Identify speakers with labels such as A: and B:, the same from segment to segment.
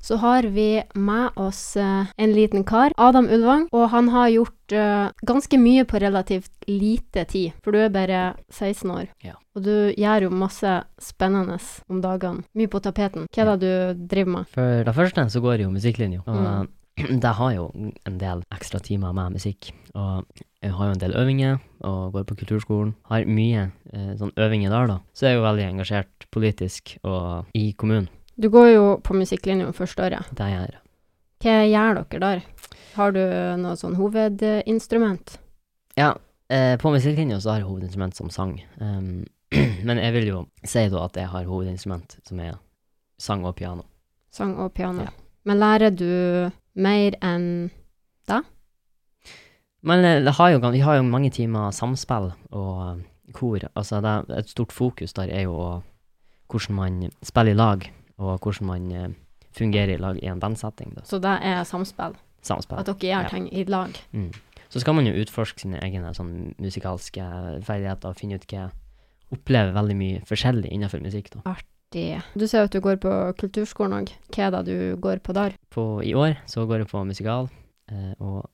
A: så har vi med oss eh, en liten kar, Adam Ulvang, og han har gjort eh, ganske mye på relativt lite tid, for du er bare 16 år.
B: Ja.
A: Og du gjør jo masse spennende om dagene. Mye på tapeten. Hva er det du driver med?
B: For det første så går jeg jo musikklinja, og
A: Mm.
B: det har jo en del ekstra timer med musikk. Og jeg har jo en del øvinger, og går på kulturskolen. Har mye eh, sånn øvinger der, da. Så jeg er jo veldig engasjert politisk og i kommunen.
A: Du går jo på musikklinja første året.
B: Det jeg gjør.
A: Hva gjør dere der? Har du noe sånn hovedinstrument?
B: Eh, på musikklinja så har jeg hovedinstrument som sang. Um, men jeg vil jo si da at jeg har hovedinstrument som er sang og piano.
A: Sang og piano.
B: Ja.
A: Men lærer du mer enn
B: Men eh, det har jo, gan- vi har jo mange timer samspill og eh, kor. Altså det er et stort fokus der er jo å- hvordan man spiller i lag, og hvordan man eh, fungerer i lag i en bandsetting. Da.
A: Så det er samspill.
B: Samspill.
A: At dere gjør
B: Ja.
A: ting i lag.
B: Mm. Så skal man jo utforske sine egne sånn, musikalske ferdigheter og finne ut hva Oppleve veldig mye forskjellig innenfor musikk. da.
A: Det. Du sier at du går på kulturskolen òg. Hva er det du går på der?
B: På, I år så går jeg på musikal eh, og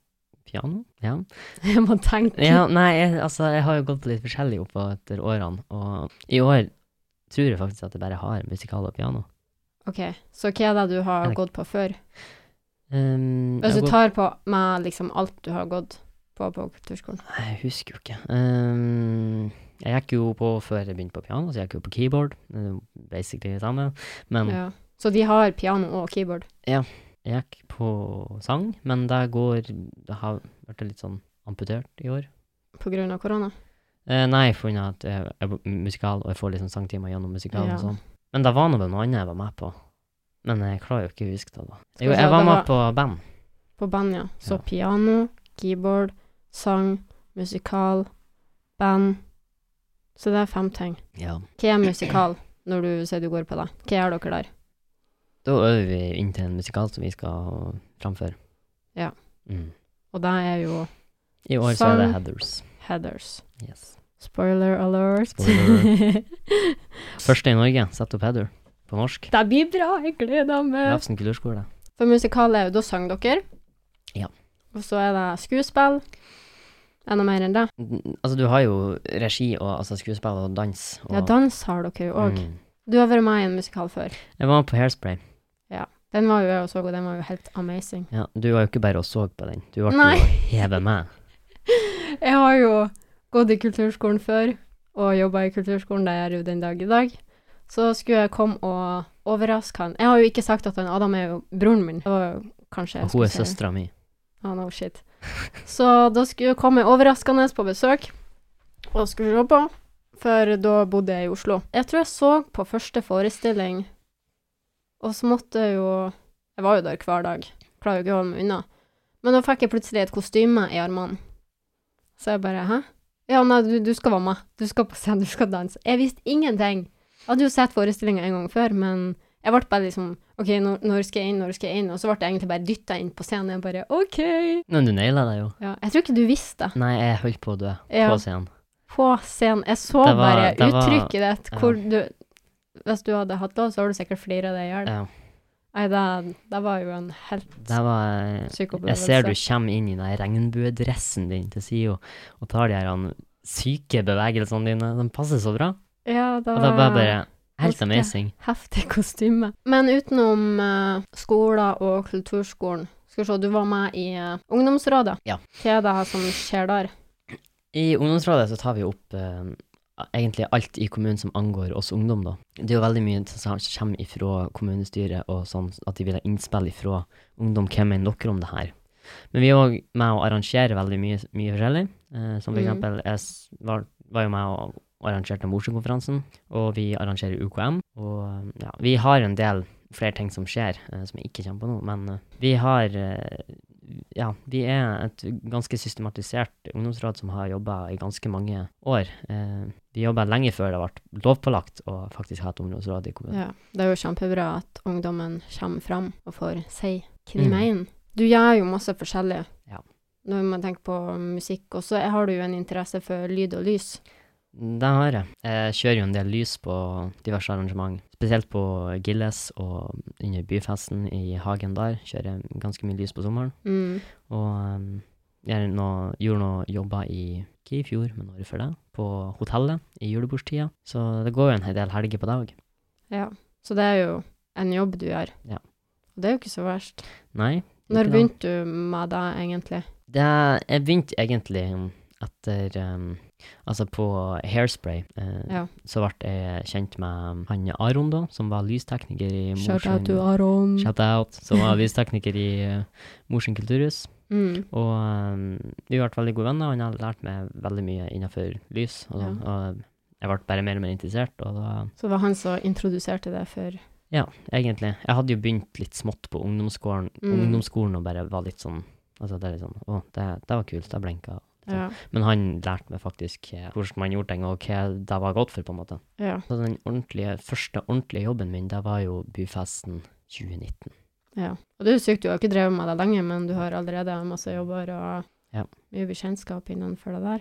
B: piano. Ja.
A: Jeg må tenke.
B: Ja, nei, jeg, altså, jeg har jo gått litt forskjellig oppover årene, og i år tror jeg faktisk at jeg bare har musikal og piano.
A: Ok, Så hva er det du har
B: Jeg-
A: gått på før?
B: Um,
A: Hvis
B: jeg,
A: du
B: har
A: tar
B: gått,
A: på med liksom alt du har gått på på kulturskolen.
B: Nei, jeg husker jo ikke. Um, jeg gikk jo på før jeg begynte på piano, så jeg gikk jo på keyboard. Det er jo Basically det samme. Men
A: Ja. Så de har piano og keyboard.
B: jeg gikk på sang, men det går Det har vært litt sånn amputert i år.
A: På grunn av korona.
B: Eh, nei, pga. at jeg er musikal, og jeg får liksom sangtimer gjennom musikalen og
A: Ja.
B: sånn. Men det var nå vel noe annet jeg var med på. Men jeg klarer jo ikke å huske det, da.
A: vi
B: Jo,
A: se,
B: jeg var
A: det
B: med på band.
A: På band, ja. Så
B: Ja.
A: piano, keyboard, sang, musikal, band. Så det er fem ting.
B: Ja.
A: Hva er musikal, når du sier du går på det? Hva gjør dere der?
B: Da øver vi inn til en musikal som vi skal framføre.
A: Ja.
B: Mm.
A: Og det er jo
B: I år så er
A: Sang.
B: det Heathers.
A: headers.
B: Yes.
A: Spoiler alert.
B: Spoiler. Første i Norge, sett opp Heather på norsk.
A: det blir bra, jeg gleder meg.
B: Rafsen kulturskole.
A: For musikal er jo, da sang dere.
B: Ja.
A: Og så er det skuespill. Er det noe mer enn det?
B: N- Altså, du har jo regi og altså, skuespill og dans. Og,
A: Ja, dans har dere jo òg.
B: Mm.
A: Du har vært med i en musikal før.
B: Jeg var med på Hairspray.
A: Den var jo jeg og så, og den var jo helt amazing.
B: Ja, du var jo ikke bare og så på den. Du ble
A: Nei.
B: jo hevet med.
A: Jeg har jo gått i kulturskolen før, og jobba i kulturskolen, det gjør jeg jo den dag i dag. Så skulle jeg komme og overraske han. Jeg har jo ikke sagt at han Adam er jo broren min. Det var jo kanskje jeg
B: Og hun
A: skulle
B: er
A: si det.
B: søstera mi.
A: Ah, no shit. Så da skulle jeg komme overraskende på besøk, og skulle se på, for da bodde jeg i Oslo. Jeg tror jeg så på første forestilling, og så måtte jeg jo Jeg var jo der hver dag, klarer jo ikke å holde meg unna. Men da fikk jeg plutselig et kostyme i armene. Så jeg bare Hæ? Ja, nei, du, du skal være med. Du skal på scenen, du skal danse. Jeg visste ingenting. Jeg hadde jo sett forestillinga en gang før, men jeg ble bare liksom OK, når, når skal jeg inn, når skal jeg inn? Og så ble jeg egentlig bare dytta inn på scenen. Jeg bare OK.
B: Men du naila det jo.
A: Ja, jeg tror ikke du visste det.
B: Nei, jeg holdt på å dø
A: Ja,
B: på scenen.
A: på scenen. Jeg så
B: Det var-
A: bare
B: det var-
A: uttrykket ditt.
B: ja.
A: Hvor du Hvis du hadde hatt lov, så hadde du sikkert flira deg i hjel.
B: Ja.
A: Nei, det, det var jo en helt
B: Det var
A: syk
B: Jeg
A: opplevelse.
B: ser du kommer inn i den her regnbuedressen din til Sio, og tar de her han, syke bevegelsene dine. De passer så bra.
A: Ja, det
B: Og
A: var
B: det var bare helt
A: ganske-
B: amazing.
A: heftig kostyme. Men utenom eh, skolen og kulturskolen, skal vi se, du var med i eh, ungdomsrådet.
B: Ja.
A: Hva er det som skjer der?
B: I ungdomsrådet så tar vi opp eh, egentlig alt i kommunen som angår oss ungdom, da. Det er jo veldig mye som kommer ifra kommunestyret, og sånn at de vil ha innspill ifra ungdom. Hvem mener dere om det her? Men vi er òg med å arrangere veldig mye, mye forskjellig. eh, som for
A: Mm.
B: eksempel, jeg s- var, var jo med og arrangerte Mosjøkonferansen, og vi arrangerer UKM. Og eh, ja, vi har en del flere ting som skjer, eh, som jeg ikke kommer på nå, men eh, vi har eh, ja, vi er et ganske systematisert ungdomsråd som har jobba i ganske mange år. Eh, vi jobba lenge før det ble lovpålagt å faktisk ha et ungdomsråd i kommunen.
A: Ja, det er jo kjempebra at ungdommen kommer fram og får si hva de mener. Du gjør jo masse forskjellig.
B: Mm. Ja.
A: Når man tenker på musikk også, jeg har du jo en interesse for lyd og lys.
B: Det har jeg. Jeg kjører jo en del lys på diverse arrangement. Spesielt på Gilles og under byfesten i hagen der kjører jeg ganske mye lys på sommeren.
A: Mm.
B: Og em, jeg er nå- gjorde noe jobber i ikke i fjor, men året før det, på hotellet i julebordstida. Så det går jo en hel del helger på det òg.
A: Ja. Så det er jo en jobb du gjør.
B: Ja.
A: Og det er jo ikke så verst.
B: Nei.
A: Når
B: ikke det.
A: begynte du med det, egentlig?
B: Det, jeg begynte egentlig um, etter um, Altså, på Hairspray eh,
A: Ja.
B: så ble jeg kjent med um, han Aron, da, som var lystekniker i
A: Shout out
B: Mosjøen.
A: to Aron.
B: Shout out. Som var lystekniker i uh, Mosjøen kulturhus.
A: Mm.
B: Og um, vi ble veldig gode venner, og han har lært meg veldig mye innenfor lys. Og, sånn, og jeg ble bare mer og mer interessert, og da
A: Så det var han som introduserte deg for
B: Ja, egentlig. Jeg hadde jo begynt litt smått på ungdomsskolen,
A: Mm.
B: ungdomsskolen og bare var litt sånn Altså, det er litt sånn Å, det, det var kult. Det blinka.
A: Ja.
B: Men han lærte meg faktisk eh, hvordan man gjorde ting, og hva det var godt for, på en måte.
A: Ja.
B: Så den ordentlige, første ordentlige jobben min, det var jo Byfesten 2019.
A: ja. Og det er jo sykt, du har ikke drevet med det lenge, men du har allerede masse jobber og
B: Ja.
A: mye bekjentskap innenfor det der.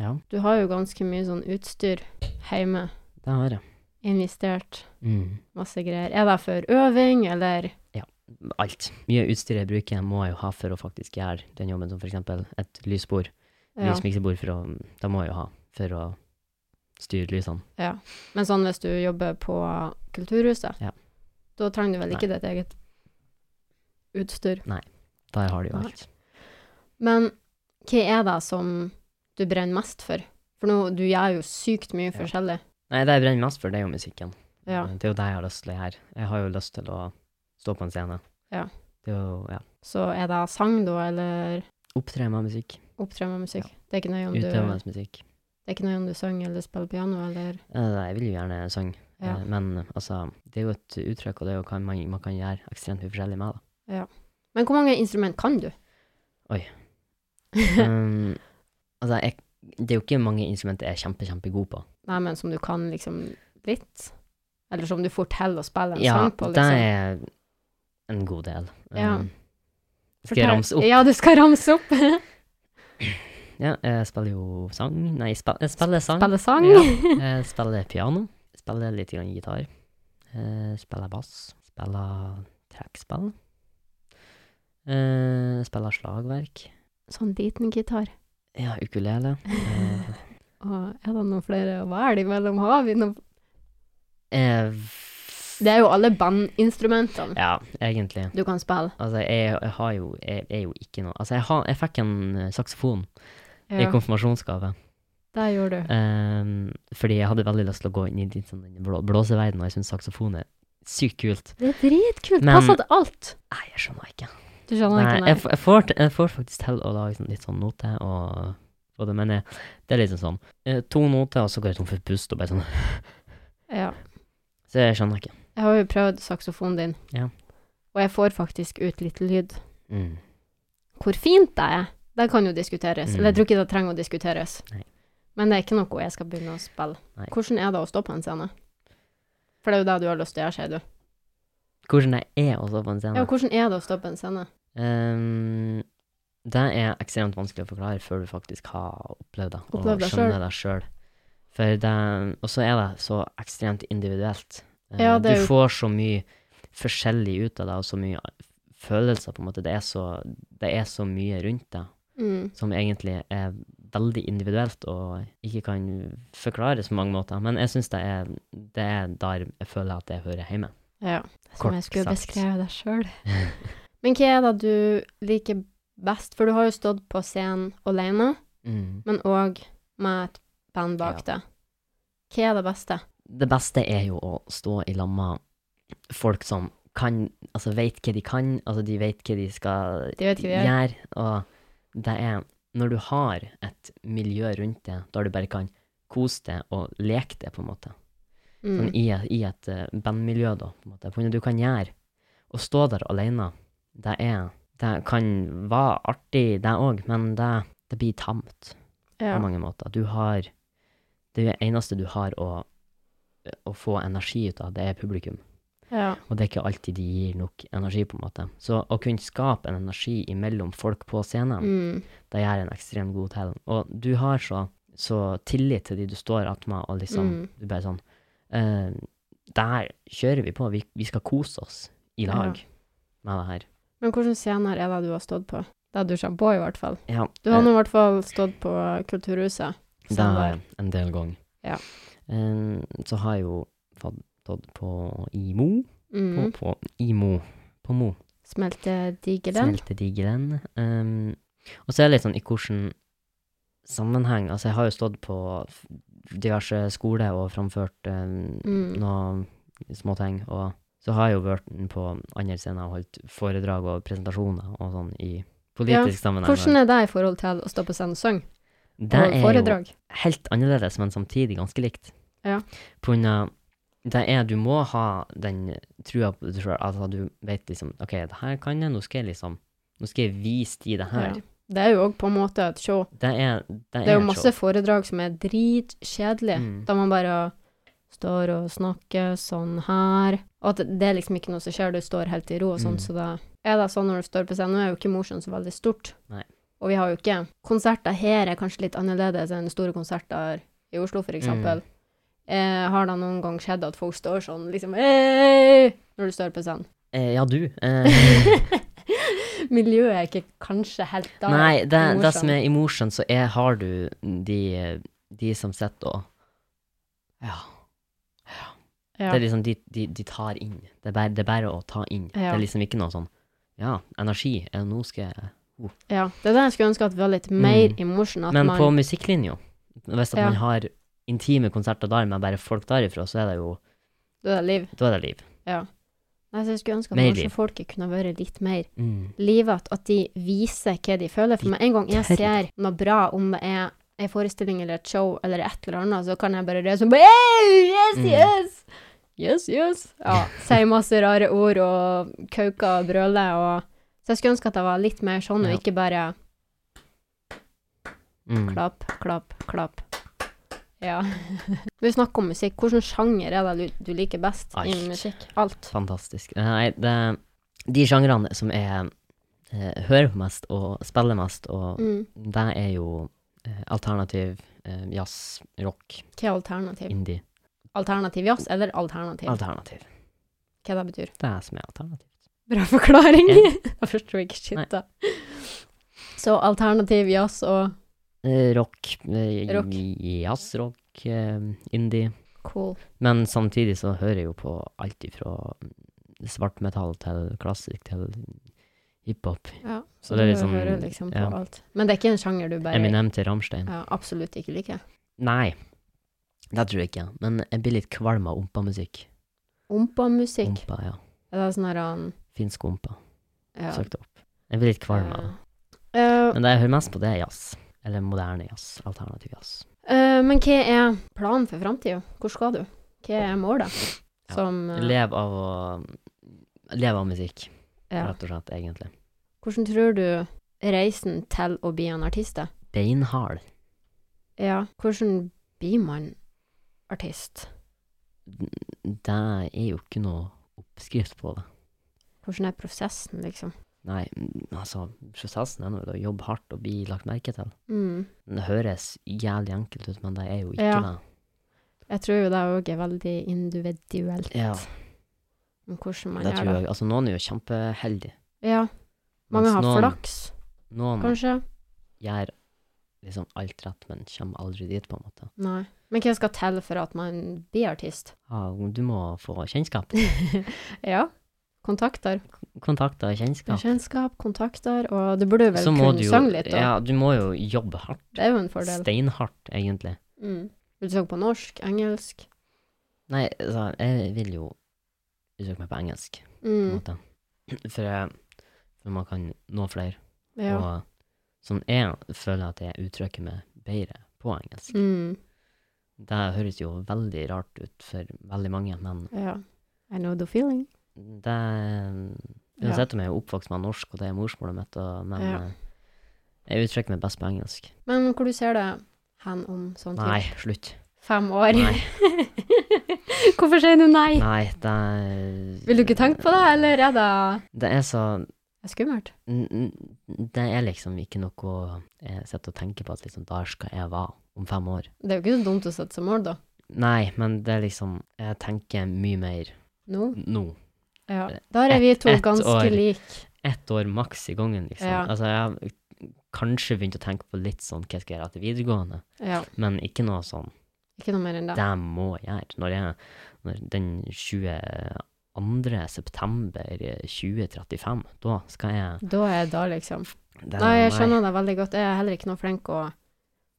B: Ja,
A: Du har jo ganske mye sånn utstyr hjemme.
B: det har jeg.
A: Investert
B: Mm.
A: masse greier. Er det for øving, eller
B: Alt. Mye utstyr jeg bruker, må jeg jo ha for å faktisk gjøre den jobben, som for eksempel et lysbord.
A: ja.
B: Lysmiksebord, for å Det må jeg jo ha for å styre lysene.
A: Men sånn hvis du jobber på Kulturhuset,
B: Ja.
A: da trenger du vel ikke ditt eget utstyr.
B: Der har du jo
A: Nei.
B: alt.
A: Men hva er det som du brenner mest for? For nå, du gjør jo sykt mye
B: Ja.
A: forskjellig.
B: Nei, det jeg brenner mest for, det er jo musikken. Eh,
A: Ja.
B: Det er jo det jeg har lyst til å gjøre. Jeg har jo lyst til å stå på en scene.
A: Ja.
B: Det er jo, ja.
A: Så er det sang, da, eller
B: Opptre med musikk.
A: opptre med musikk? Det er ikke nøye om du,
B: Utøve med musikk.
A: det er ikke nøye om du synger eller spiller piano, eller
B: Eh, Jeg vil jo gjerne synge,
A: Ja.
B: eh, men altså, det er jo et uttrykk, og det er jo hva man, man kan gjøre ekstremt mye forskjellig med. Da.
A: Men hvor mange instrument kan du?
B: Oi. Um, altså, jeg, det er jo ikke mange instrumenter jeg er kjempe, kjempegod på.
A: Nei, men som du kan liksom litt. Eller som du får til å spille en
B: Ja,
A: sang på,
B: det
A: liksom.
B: er en god del.
A: Ja.
B: Um, skal jeg
A: Fortell-
B: ramse opp?
A: Ja, du skal ramse opp.
B: Ja, jeg spiller jo sang. Nei, jeg spiller, jeg spiller sang.
A: Spille sang.
B: Ja. Jeg spiller piano, spiller litt grann gitar, eh, spiller bass, spiller trekkspill, eh, spiller slagverk,
A: Sånn liten gitar.
B: ja, ukulele. Eh,
A: Og er det noen flere å være imellom? Har vi noen
B: eh,
A: Det er jo alle bandinstrumentene
B: ja, egentlig.
A: du kan spille.
B: Altså, jeg, jeg har jo, jeg, er jo ikke noe Altså, jeg, har, jeg fikk en eh, saksofon i
A: Ja,
B: konfirmasjonsgave
A: det gjør du.
B: eh, fordi jeg hadde veldig lyst til å gå inn i litt sånn den blå, blåseverdenen, og jeg syns saksofon er sykt kult.
A: Det er dritkult.
B: Men-
A: Passer til alt.
B: Nei, jeg skjønner ikke.
A: Du skjønner
B: Nei,
A: ikke
B: jeg,
A: det?
B: f- jeg, får, t- jeg får faktisk til å lage sånn, litt sånn note, og, og det, men jeg, det er liksom sånn eh, To noter, og så går jeg tom for pust, og bare sånn
A: Ja.
B: Så jeg skjønner ikke.
A: Jeg har jo prøvd saksofonen din,
B: Ja.
A: og jeg får faktisk ut litt lyd.
B: Mm.
A: Hvor fint det er, det kan jo diskuteres.
B: Mm.
A: Eller jeg tror ikke det trenger å diskuteres.
B: Nei.
A: Men det er ikke noe jeg skal begynne å spille.
B: Nei.
A: Hvordan er det å stå på en scene? For det er jo det du har lyst til å gjøre, sier du.
B: Hvordan jeg er å stå på
A: Ja,
B: en scene
A: hvordan er det å stå på en scene?
B: Ehm, Det er ekstremt vanskelig å forklare før du faktisk har opplevd det, og
A: Opplevd det
B: skjønner det sjøl. For det Og så er det så ekstremt individuelt. Eh,
A: Ja, det er
B: du
A: jo-
B: får så mye forskjellig ut av det, og så mye følelser, på en måte. Det er så, det er så mye rundt det.
A: Mm.
B: som egentlig er veldig individuelt og ikke kan forklares på mange måter. Men jeg syns det, er- det er der jeg føler at jeg hører hjemme.
A: Ja. Som
B: Kort
A: jeg skulle
B: sagt.
A: beskrevet deg sjøl. Men hva er det du liker best? For du har jo stått på scenen alene, men òg med et band bak deg. Hva er det beste?
B: Det beste er jo å stå i lag med folk som kan, altså vet hva de kan, altså de vet hva de skal
A: Det vet ikke vi.
B: gjøre. Og det er når du har et miljø rundt deg der du bare kan kose deg og leke deg, på en måte.
A: Mm.
B: sånn, i, i et eh, bandmiljø, da, på en måte. For Du kan gjøre Å stå der alene, det er Det kan være artig, det òg, men det, det blir tamt
A: Ja.
B: på mange måter. Du har Det er det eneste du har å, å få energi ut av, det er publikum.
A: ja.
B: Og det er ikke alltid de gir nok energi, på en måte. Så å kunne skape en energi imellom folk på scenen,
A: Mm.
B: det gjør en ekstremt god talent. Og du har så, så tillit til de du står attmed, og liksom
A: Mm.
B: Du bare sånn eh, Der kjører vi på. Vi, vi skal kose oss i lag med det her.
A: Men hvilke scener er det du har stått på? Det du kommer på, i hvert fall.
B: Ja,
A: Du har
B: eh,
A: nå i hvert fall stått på Kulturhuset.
B: Det har jeg en del ganger.
A: Ja.
B: Eh, så har jeg jo fått stått på IMO. På,
A: Mm.
B: på IMO. På Mo.
A: Smeltedigelen.
B: Smeltedigelen. Um, og så er det litt sånn i hvilken sammenheng Altså, jeg har jo stått på f- diverse skoler og framført um,
A: Mm.
B: noen småting. Og så har jeg jo vært på andre scener og holdt foredrag og presentasjoner og sånn i politisk sammenheng.
A: Hvordan er det i forhold til å stå på scenen og synge?
B: det
A: Og
B: er jo
A: foredrag?
B: helt annerledes, men samtidig ganske likt.
A: Ja.
B: På grunn av det er du må ha den trua på deg sjøl, altså du vet liksom OK, det her kan jeg, nå skal jeg liksom Nå skal jeg vise de det her.
A: Ja. Det er jo òg på en måte et show.
B: Det er Det er,
A: Det er jo
B: et
A: masse
B: show.
A: foredrag som er dritkjedelige.
B: Mm.
A: Da man bare står og snakker sånn her. Og at det er liksom ikke noe som skjer, du står helt i ro og sånn,
B: Mm.
A: så det er det sånn når du står på scenen. Nå er jo ikke Mosjøen så veldig stort.
B: Nei.
A: Og vi har jo ikke Konserter her er kanskje litt annerledes enn store konserter i Oslo, for
B: Mm.
A: eksempel. Eh, har det noen gang skjedd at folk står sånn liksom «Ei!» når du står på scenen?
B: Eh, Ja, du. Eh,
A: Miljøet er ikke kanskje helt der.
B: nei, det,
A: i
B: det som
A: Mosjøen.
B: er i Mosjøen, så er, har du de, de som sitter og ja,
A: Ja.
B: Det er liksom de, de, de tar inn. Det er, bare, det er bare å ta inn.
A: Ja.
B: Det er liksom ikke noe sånn Ja, energi. eh, Nå skal jeg
A: Ja, det er det jeg skulle ønske at vi var litt mer
B: Mm.
A: i Mosjøen. at
B: Men
A: man-
B: på musikklinja, hvis at
A: Ja.
B: man har intime konserter der med bare folk derifra, så er det jo
A: Det er liv.
B: Da er det liv.
A: Nei, så jeg skulle ønske at
B: Mer
A: kanskje
B: liv.
A: folket kunne vært litt mer
B: Mm.
A: livet, at de viser hva de føler. For
B: De
A: med en gang jeg
B: tør.
A: ser noe bra, om det er en forestilling eller et show eller et eller annet, så kan jeg bare reise sånn «Hey, Yes,
B: Mm.
A: yes! Yes, yes! Ja, sier masse rare ord og kauker og brøler og Så jeg skulle ønske at det var litt mer sånn,
B: Ja.
A: og ikke bare
B: Mm.
A: klapp, klapp, klapp. Ja. Vi snakker om musikk. Hvilken sjanger er det du, du liker best
B: Alt.
A: i musikk? Alt.
B: Fantastisk. Eh, Nei, det De sjangrene som jeg eh, hører på mest og spiller mest, og
A: Mm.
B: det er jo eh, alternativ, eh, jazz, rock,
A: Hva er alternativ?
B: indie.
A: Alternativ jazz eller alternativ?
B: Alternativ.
A: Hva det betyr?
B: Det er som er alternativ.
A: Bra forklaring.
B: Ja.
A: Jeg forstår ikke
B: Nei.
A: shit, da. Så alternativ jazz og
B: Eh, rock, eh,
A: Rock.
B: jazz, rock, eh, indie.
A: cool.
B: Men samtidig så hører jeg jo på alt ifra svartmetall til klassisk til hiphop.
A: Ja,
B: Så det er
A: du
B: liksom,
A: hører liksom på
B: ja.
A: alt. Men det er ikke en sjanger du bare
B: Eminem til Rammstein.
A: ja, absolutt ikke liker.
B: Nei, det tror jeg ikke. Men jeg blir litt kvalm av ompa-musikk.
A: Ompa-musikk.
B: Ompa, ja.
A: Er det sånn her han
B: Finsk ompa.
A: ja,
B: Søkte opp. Jeg blir litt kvalm av det.
A: eh,
B: Men det jeg hører mest på, det er jazz. Eller moderne jazz. Alternativ jazz.
A: eh, Men hva er planen for framtida? Hvor skal du? Hva er målet?
B: Ja.
A: Som eh,
B: Lev av å Lev av musikk,
A: ja.
B: rett og slett, egentlig.
A: Hvordan tror du reisen til å bli en artist er?
B: Beinhard.
A: Ja, hvordan blir man artist?
B: Det er jo ikke noe oppskrift på det.
A: Hvordan er prosessen, liksom?
B: Nei, mm, altså, prosessen er nå å jobbe hardt og bli lagt merke til.
A: Mm.
B: Det høres jævlig enkelt ut, men det er jo ikke
A: Ja.
B: det.
A: Jeg tror jo det òg er veldig individuelt
B: Ja,
A: om hvordan man
B: det
A: gjør
B: tror
A: det.
B: jeg. Altså, noen er jo kjempeheldige.
A: Ja, mange
B: mens
A: har
B: noen,
A: flaks,
B: Noen
A: kanskje.
B: gjør liksom alt rett, men kommer aldri dit, på en måte.
A: Nei. Men hva skal til for at man blir artist?
B: Ja, du må få kjennskap.
A: Ja, kontakter.
B: Kontakter og kjennskap.
A: Kjennskap, kontakter, og du burde vel
B: Så må
A: kunne
B: du jo
A: synge litt, da.
B: Ja, du må jo jobbe hardt.
A: Det er jo en fordel.
B: Steinhardt, egentlig.
A: Mm. Vil du synge på norsk, engelsk?
B: Nei, altså, jeg vil jo søke meg på engelsk, på
A: Mm.
B: en måte. For, jeg- for man kan nå flere.
A: Ja.
B: Og sånn jeg føler at jeg uttrykker meg bedre på engelsk.
A: Mm.
B: Det høres jo veldig rart ut for veldig mange, men
A: ja. I know the feeling.
B: det Uansett om jeg er oppvokst med norsk, og det er morsmålet mitt, og, men
A: Ja.
B: eh, jeg uttrykker meg best på engelsk.
A: Men hvor du ser det hen om sånn
B: Nei,
A: typ
B: slutt.
A: fem år?
B: Nei,
A: Hvorfor sier du nei?
B: nei det er
A: Vil du ikke tenke på det, eller er det
B: Det er så
A: det er skummelt?
B: n- n- Det er liksom ikke noe jeg sitter og tenker på at liksom, der skal jeg være om fem år.
A: Det er jo ikke så dumt å sette seg mål, da.
B: Nei, men det er liksom Jeg tenker mye mer
A: Nå?
B: nå.
A: Ja. Der er vi to
B: ett
A: ganske
B: år.
A: like.
B: Ett år maks i gangen, liksom.
A: Ja.
B: Altså, jeg har kanskje begynt å tenke på litt sånn hva skal jeg gjøre etter videregående,
A: Ja.
B: men ikke noe sånn
A: Ikke noe mer enn det.
B: det må jeg gjøre. Når jeg når Den 22. september 2035, da skal jeg
A: Da er det da, liksom.
B: det er
A: Nei, jeg
B: meg.
A: skjønner det veldig godt. Jeg er heller ikke noe flink å,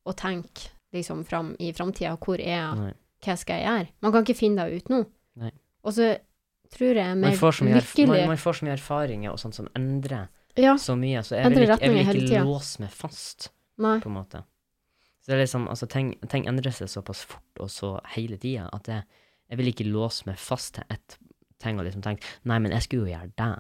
A: å tenke liksom fram i framtida. Hvor er jeg?
B: Nei.
A: Hva skal jeg gjøre? Man kan ikke finne det ut nå.
B: Nei.
A: Og så tror jeg jeg er
B: Man
A: mer
B: får, så mye, erf-
A: lykkelig
B: man, man får så mye erfaringer og sånt som endrer
A: Ja,
B: så mye, så jeg
A: Endrer
B: vil ikke, jeg
A: retningen
B: vil
A: hele
B: ikke
A: tiden.
B: låse meg fast,
A: nei.
B: på en måte. Så det er liksom, altså, ting, ting endrer seg såpass fort og så hele tida at jeg, jeg vil ikke låse meg fast til ett ting og liksom tenke Nei, men jeg skulle jo gjøre det.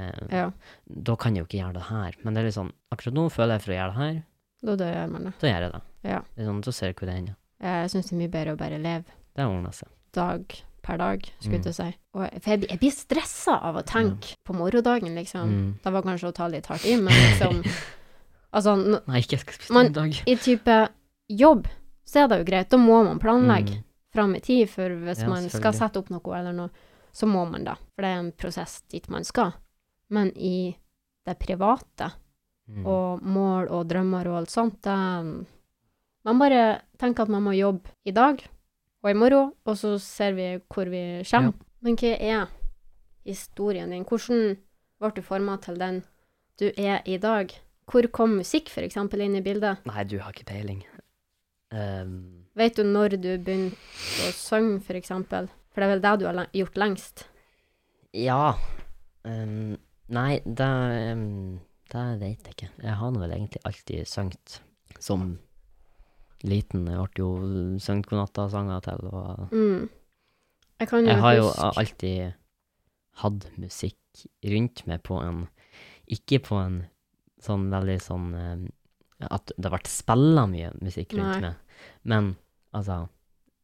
B: Eh,
A: Ja,
B: Da kan jeg jo ikke gjøre det her. Men det er litt sånn, akkurat nå føler jeg for å gjøre det her,
A: da dør man det.
B: Da gjør jeg det.
A: Ja.
B: Det er sånn, da ser jeg hvor det ender.
A: Jeg syns det er mye bedre å bare leve
B: Det ordner seg.
A: dag per dag, skulle jeg
B: Mm.
A: til å si. Og, jeg- for jeg, blir- jeg blir stressa av å tenke på morgendagen, liksom.
B: Mm.
A: Det var kanskje å ta litt hardt i, men liksom Altså, n
B: Nei, ikke jeg skal spise
A: Man-
B: middag.
A: i type jobb, så er det jo greit. Da må man planlegge.
B: Mm.
A: fram i tid, for hvis
B: Ja,
A: man skal
B: selvfølgelig.
A: sette opp noe eller noe, så må man det. For det er en prosess dit man skal. Men i det private,
B: Mm.
A: og mål og drømmer og alt sånt, det Man bare tenker at man må jobbe i dag og i morgen, og så ser vi hvor vi kommer.
B: Ja.
A: Men hva er historien din? Hvordan ble du forma til den du er i dag? Hvor kom musikk f.eks. inn i bildet?
B: Nei, du har ikke peiling. Ehm,
A: Vet du når du begynte å synge, for eksempel? For det er vel det du har le- gjort lengst?
B: ja. Ehm, nei, det, ehm, det vet jeg ikke. Jeg har nå vel egentlig alltid sunget som liten. Jeg ble jo sunget godnatta-sanger til, og
A: Mm. Jeg kan jo
B: jeg har jo
A: huske
B: alltid hatt musikk rundt meg på en Ikke på en sånn veldig sånn eh, At det har vært spilla mye musikk
A: Nei.
B: rundt meg. Men altså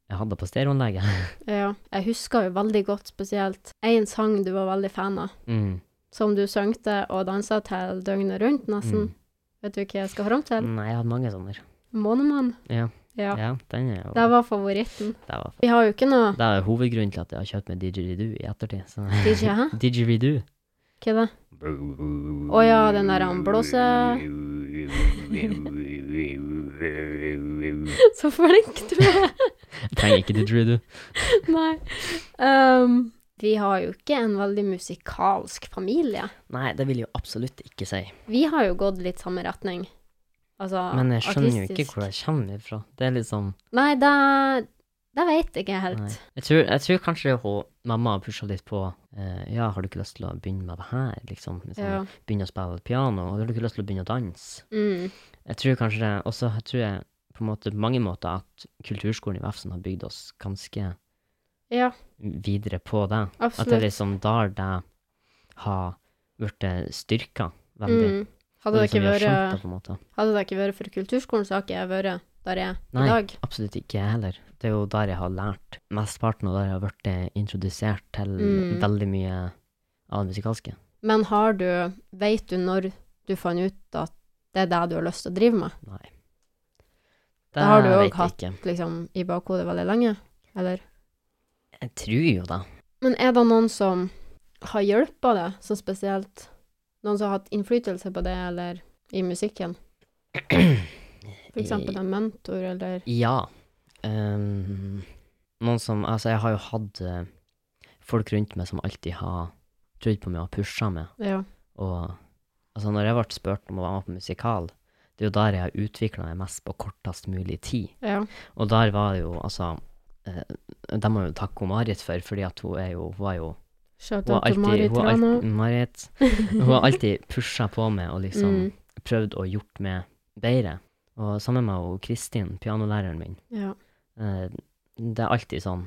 B: Jeg hadde det på stereoanlegget.
A: Ja, jeg husker jo veldig godt spesielt én sang du var veldig fan av,
B: Mm,
A: som du søngte og dansa til døgnet rundt, nesten.
B: mm.
A: Vet du hva jeg skal fram til?
B: Nei, jeg hadde mange sånne.
A: Månemann.
B: Ja.
A: ja.
B: Ja, den er jo
A: Det var favoritten.
B: det var-
A: Vi har jo ikke noe
B: det er hovedgrunnen til at jeg har kjøpt meg didgeridoo i ettertid. Så.
A: DJ, hæ?
B: Didgeridoo.
A: Hva er det? Å ja, den der han blåser Så flink du er!
B: Jeg trenger ikke didgeridoo.
A: Nei. Ehm, vi har jo ikke en veldig musikalsk familie.
B: Nei, det vil jeg jo absolutt ikke si.
A: Vi har jo gått litt samme retning. Altså
B: Men jeg skjønner jo ikke
A: artistisk.
B: hvor jeg kommer ifra. Det er liksom
A: Nei, det, det vet jeg ikke helt.
B: Nei. Jeg tror, jeg tror kanskje hun, mamma har pusha litt på eh, Ja, har du ikke lyst til å begynne med det her, liksom? liksom
A: Ja.
B: Begynne å spille piano? Har du ikke lyst til å begynne å danse?
A: Mm.
B: Jeg tror kanskje det Og så tror jeg på en måte, på mange måter at kulturskolen i Vefsn har bygd oss ganske
A: Ja,
B: videre på det. At det
A: absolutt.
B: er liksom der det har blitt styrka veldig.
A: Mm.
B: Og
A: Hadde, det
B: liksom
A: ikke
B: vi har skjønt det
A: vært,
B: på en måte.
A: hadde det ikke vært for kulturskolen, så har ikke jeg vært der jeg er
B: Nei.
A: i dag.
B: Absolutt ikke jeg heller. Det er jo der jeg har lært mesteparten, og der jeg har blitt eh, introdusert til
A: Mm.
B: veldig mye av det musikalske.
A: Men har du Veit du når du fant ut at det er det du har lyst til å drive med,
B: Nei. Det,
A: har du jo
B: vet jeg
A: hatt.
B: Ikke.
A: liksom i bakhodet veldig lenge? Eller?
B: Jeg tror jo det.
A: Men er det noen som har hjulpet deg, så spesielt noen som har hatt innflytelse på det, eller i musikken? For eksempel en mentor, eller
B: Ja. Ehm, noen som Altså, jeg har jo hatt eh, folk rundt meg som alltid har trodd på meg og pusha meg.
A: Ja.
B: Og altså, når jeg ble spurt om å være med på musikal, det er jo der jeg har utvikla meg mest på kortest mulig tid.
A: ja.
B: Og der var det jo, altså eh, Det må jeg jo takke hun Marit for, fordi at hun er jo Hun, er jo,
A: Shout
B: hun,
A: out
B: har,
A: til Mari
B: alltid, hun, har,
A: Trana.
B: alltid, Marit, hun har alltid pusha på meg og liksom
A: Mm,
B: prøvd å gjort meg bedre. Og sammen
A: Mm,
B: med hun Kristin, pianolæreren min.
A: ja.
B: Eh, det er alltid sånn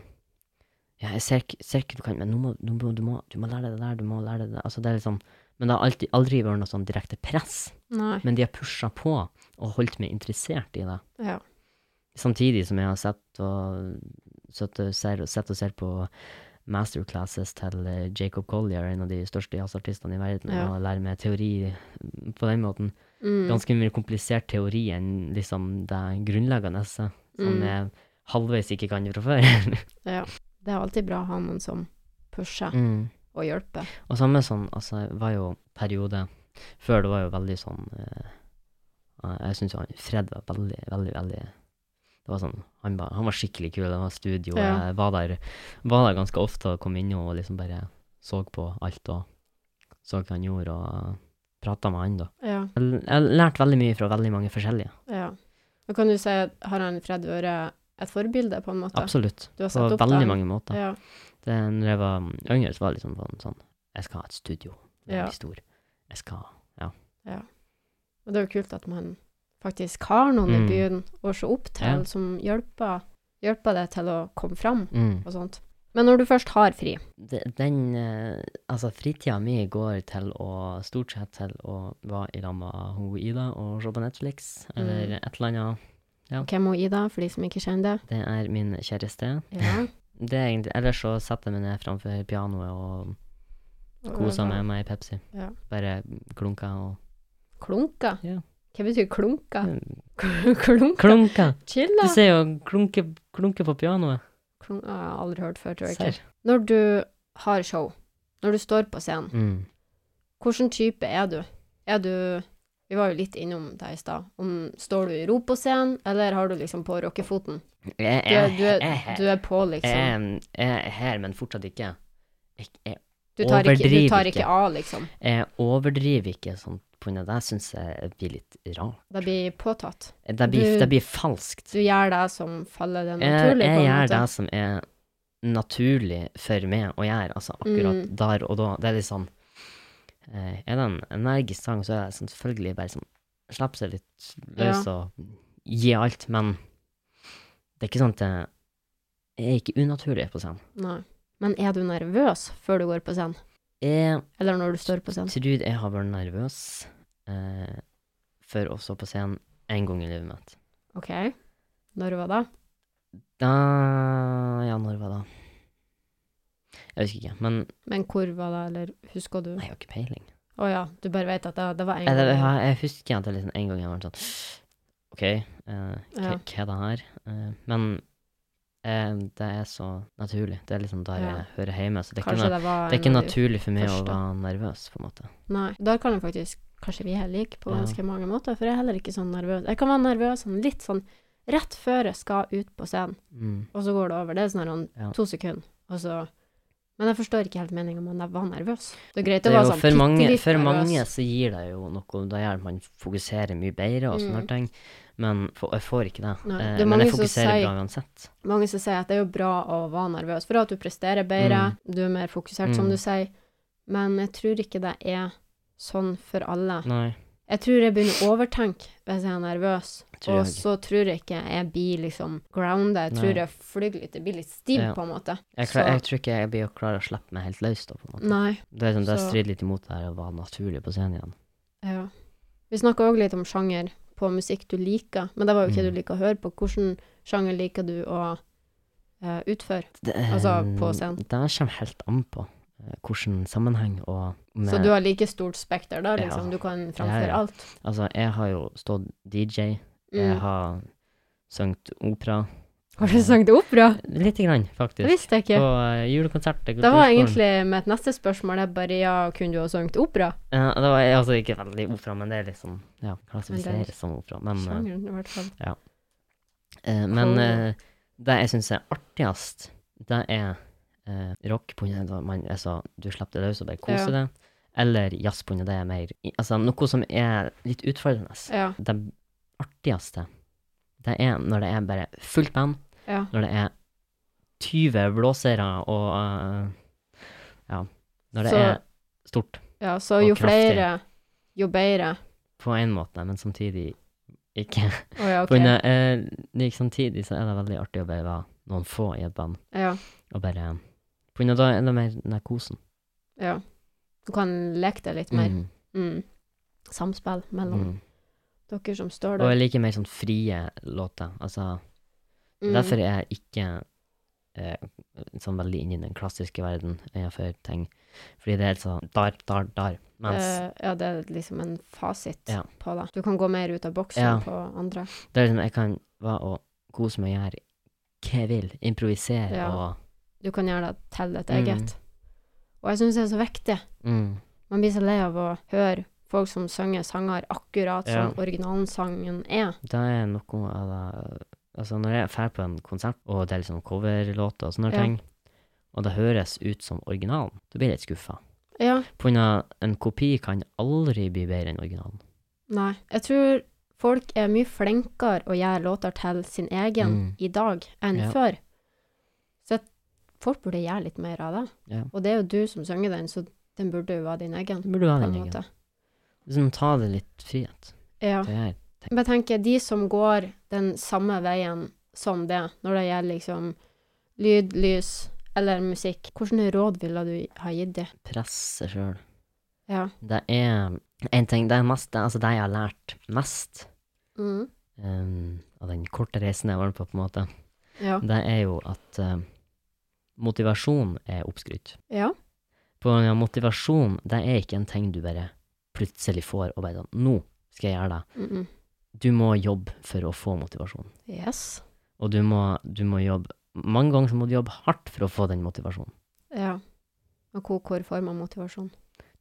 B: ja, jeg ser ikke ser ikke du kan, men nå må, nå må, du, må, du må lære deg det der, du må lære deg det der. Altså, det er litt sånn, men det har alltid, aldri vært noe sånn direkte press.
A: Nei.
B: Men de har pusha på og holdt meg interessert i det.
A: Ja.
B: Samtidig som jeg har sett og, sett og, ser, sett og ser på masterclasses til eh, Jacob Collier, en av de største jazzartistene i verden,
A: Ja.
B: og lærer meg teori på den måten.
A: Mm.
B: Ganske mye komplisert teori enn liksom det grunnleggende, som
A: Mm.
B: jeg halvveis ikke kan fra før.
A: Det er alltid bra å ha noen som pusher
B: mm.
A: og hjelper.
B: Og samme sånn, altså, det var jo periode Før det var jo veldig sånn eh, eh, Jeg syns jo han Fred var veldig, veldig, veldig Det var sånn Han var, han var skikkelig kul. Det var studio.
A: Ja.
B: Jeg var der, var der ganske ofte og kom innom og liksom bare så på alt og så hva han gjorde, og prata med han, da.
A: Ja.
B: Jeg, jeg lærte veldig mye fra veldig mange forskjellige.
A: ja. Da kan du si at har han Fred vært et forbilde, på en måte?
B: Absolutt.
A: Du har
B: På
A: sett opp
B: veldig
A: den?
B: mange måter.
A: Ja.
B: Det, når jeg var yngre, så var det liksom sånn, sånn Jeg skal ha et studio. Jeg
A: Ja.
B: blir stor. Jeg skal
A: Og det er jo kult at man faktisk har noen i
B: Mm.
A: byen å se opp til,
B: Ja.
A: som hjelper, hjelper deg til å komme fram
B: mm.
A: og sånt. Men når du først har fri
B: de- den eh, Altså, fritida mi går til å Stort sett til å være i lag med hun Ida og se på Netflix, eller
A: Mm.
B: et eller annet.
A: Hvem er Ida, for de som ikke kjenner det?
B: Det er min kjæreste.
A: Ja.
B: Det er egentlig, ellers så setter jeg meg ned framfor pianoet og koser med meg i Pepsi.
A: Ja.
B: Bare klunker og
A: Klunka?
B: Ja.
A: Hva betyr klunka?
B: Mm.
A: klunka?
B: Klunker!
A: Chill,
B: Du
A: da!
B: ser jo klunke, klunke på pianoet.
A: Klunka har jeg aldri hørt før, tror jeg ikke.
B: Serr.
A: Når du har show, når du står på scenen,
B: Mm.
A: Hvilken type er du? Er du Vi var jo litt innom deg i stad. Om- Står du i ro på scenen, eller har du liksom på rockefoten?
B: Jeg,
A: Du, er-
B: jeg,
A: du, er- du er på, liksom.
B: jeg, jeg er her, men fortsatt ikke. Jeg, jeg,
A: Du tar ikke, du
B: overdriv
A: tar
B: ikke.
A: ikke av, liksom.
B: jeg overdriver ikke sånn på grunn av det. Jeg syns jeg blir litt rart.
A: Det blir påtatt.
B: Det blir,
A: Du-
B: det blir falskt.
A: Du gjør det som faller deg
B: Eh, Jeg,
A: naturlig, på
B: jeg
A: en
B: gjør
A: måte.
B: det som er naturlig for meg å gjøre, altså akkurat
A: Mm.
B: der og da. Det er litt sånn eh, Er det en energisk sang, så er det sånn, selvfølgelig bare sånn Slipp seg litt løs og gi alt, men det er ikke sånn at jeg, jeg er ikke unaturlig på scenen.
A: Nei. Men er du nervøs før du går på scenen?
B: Jeg
A: Eller når du står på scenen?
B: tror jeg har vært nervøs eh, for å stå på scenen én gang i livet mitt.
A: OK. Når var det?
B: Da Ja, når var det? Jeg husker ikke, men
A: Men hvor var det, eller husker du?
B: Nei, jeg har ikke peiling.
A: Å ja, du bare vet at det, det var en
B: Jeg, jeg,
A: gang.
B: jeg husker at det liksom en gang jeg var sånn OK, eh, hva
A: Ja.
B: hva er det her? Eh, men eh, det er så naturlig. Det er liksom der
A: Ja.
B: jeg hører hjemme. Så det er, ikke,
A: Kanskje
B: na-
A: det var
B: det er ikke
A: en av de-
B: naturlig for meg
A: første.
B: å være nervøs, på en måte.
A: Nei. Der kan jeg faktisk Kanskje vi er like på
B: Ja.
A: ganske mange måter, for jeg er heller ikke sånn nervøs. Jeg kan være nervøs sånn litt sånn rett før jeg skal ut på scenen,
B: Mm.
A: og så går det over. Det er sånn her,
B: Ja.
A: to sekunder, og så Men jeg forstår ikke helt meninga med at jeg var nervøs. Det er greit
B: Det
A: å
B: er
A: være
B: jo
A: sånn
B: for mange,
A: bittelitt
B: for
A: nervøs.
B: mange så gir det jo noe, da gjør det at man fokuserer mye bedre og sånne
A: Mm.
B: ting, men fo- jeg får ikke det.
A: Nei,
B: Eh,
A: det er
B: men
A: mange
B: jeg
A: som
B: fokuserer
A: sier-
B: bra uansett.
A: Mange som sier at det er jo bra å være nervøs, for at du presterer bedre, du er mer fokusert, som
B: Mm.
A: du sier, men jeg tror ikke det er sånn for alle.
B: Nei,
A: Jeg tror jeg begynner å overtenke hvis jeg er nervøs,
B: Tror jeg
A: og
B: ikke.
A: så tror jeg ikke jeg blir liksom grounda, jeg
B: Nei.
A: tror jeg flyr litt, jeg blir litt stiv
B: Ja.
A: på en måte.
B: jeg, klar,
A: Så-
B: jeg tror ikke jeg blir å klare å slippe meg helt løs da, på en måte.
A: Nei.
B: Det, er sånn, det
A: så-
B: strider litt imot det her å være naturlig på scenen igjen.
A: Ja. Vi snakka òg litt om sjanger på musikk du liker, men det var jo ikke
B: Mm.
A: du liker å høre på. Hvilken sjanger liker du å eh, utføre?
B: Det,
A: Altså, på scenen.
B: Det kommer helt an på eh, hvordan sammenheng og
A: Så du har like stort spekter da,
B: Ja.
A: liksom? Du kan framføre
B: Ja, ja.
A: alt?
B: Altså, jeg har jo stått DJ, jeg
A: Mm.
B: har sunget opera.
A: Har du sunget opera?
B: Litt grann, faktisk.
A: Det visste jeg
B: På
A: ikke.
B: eh, julekonsert til
A: Det var
B: Kulturskolen.
A: egentlig mitt neste spørsmål. Jeg bare ja, kunne du ha sunget opera?
B: Ja, det var altså ikke veldig opera, men det er liksom
A: Men
B: ja,
A: det
B: klassifiseres som opera. Men, eh,
A: Sjangeren, i hvert fall.
B: eh, men
A: Cool.
B: eh, det jeg syns er artigst, det er eh, rock på grunn av at man- altså, du slipper det løs og bare koser deg. Eller jazz på grunn av det er mer i- Altså noe som er litt utfordrende.
A: Ja.
B: Det artigste, det er når det er bare fullt band,
A: ja.
B: når det er 20 blåsere og eh, Ja. Når det
A: Så-
B: er stort.
A: Ja, så
B: Og
A: jo
B: kraftig.
A: flere, jo bedre.
B: på en måte, men samtidig ikke.
A: Å ja, ok.
B: For når, eh, like, samtidig så er det veldig artig å bare være noen få i et band,
A: Ja.
B: og bare På grunn av da er det mer narkosen.
A: Ja. Du kan leke deg litt mer.
B: Mm,
A: Mm. Samspill mellom
B: mm.
A: dere som står
B: Og
A: der.
B: jeg liker mer sånn frie låter. Altså,
A: Mm.
B: Derfor er jeg ikke eh, sånn veldig inne i den klassiske verden innenfor ting. Fordi det er helt sånn dar, dar, dar. Mens
A: Eh, ja, det er liksom en fasit
B: Ja.
A: på det. Du kan gå mer ut av boksen
B: Ja.
A: på andre.
B: det er liksom, jeg kan være og kose meg og gjøre hva jeg vil. Improvisere
A: Ja.
B: og
A: Du kan gjøre det til ditt
B: Mm.
A: eget. Og jeg syns det er så viktig.
B: mm,
A: Man blir så lei av å høre folk som synger sanger akkurat
B: Ja.
A: som originalsangen er.
B: Det er noe av det Altså, når jeg drar på en konsert, og det er liksom coverlåter og sånne
A: Ja.
B: ting, og det høres ut som originalen, da blir jeg litt skuffa.
A: Ja.
B: På grunn av en kopi kan aldri bli bedre enn originalen.
A: Nei. Jeg tror folk er mye flinkere å gjøre låter til sin egen
B: Mm.
A: i dag enn
B: Ja.
A: før. Så jeg- folk burde gjøre litt mer av det.
B: Ja.
A: Og det er jo du som synger den, så den burde jo være din egen.
B: Det burde
A: På
B: være
A: en
B: din egen.
A: måte.
B: Liksom, ta det litt frihet.
A: Ja.
B: Det er
A: Men jeg tenker, de som går den samme veien som det, når det gjelder liksom lyd, lys eller musikk, hvilke råd ville du ha gitt dem?
B: presse sjøl.
A: Ja.
B: Det er en ting, det er mest, det, er altså det jeg har lært mest
A: Mm.
B: em, av den korte reisen jeg var på, på en måte,
A: Ja.
B: det er jo at em, motivasjon er oppskrytt.
A: Ja.
B: På grunn av motivasjon, det er ikke en ting du bare plutselig får og bare sånn, nå skal jeg gjøre det.
A: Mm -mm.
B: Du må jobbe for å få motivasjon.
A: Yes.
B: Og du må, du må jobbe, mange ganger så må du jobbe hardt for å få den motivasjonen.
A: Ja. Og hvor, hvor får man motivasjon?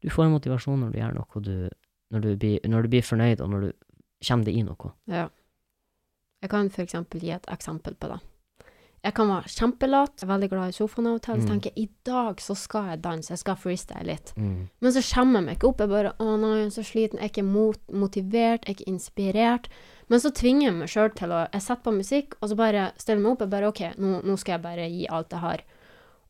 B: Du får motivasjon når du gjør noe, du, når, du blir, når du blir fornøyd, og når du kommer deg i noe.
A: Ja. Jeg kan for eksempel gi et eksempel på det. Jeg kan være kjempelat, jeg er veldig glad i sofaen av og til, så
B: Mm.
A: tenker jeg i dag så skal jeg danse, jeg skal freestyle litt.
B: Mm.
A: Men så kommer jeg meg ikke opp, jeg bare å nei, jeg er så sliten, jeg er ikke mot, motivert, jeg er ikke inspirert. Men så tvinger jeg meg sjøl til å Jeg setter på musikk, og så bare stiller jeg meg opp, jeg bare OK, nå, nå skal jeg bare gi alt jeg har.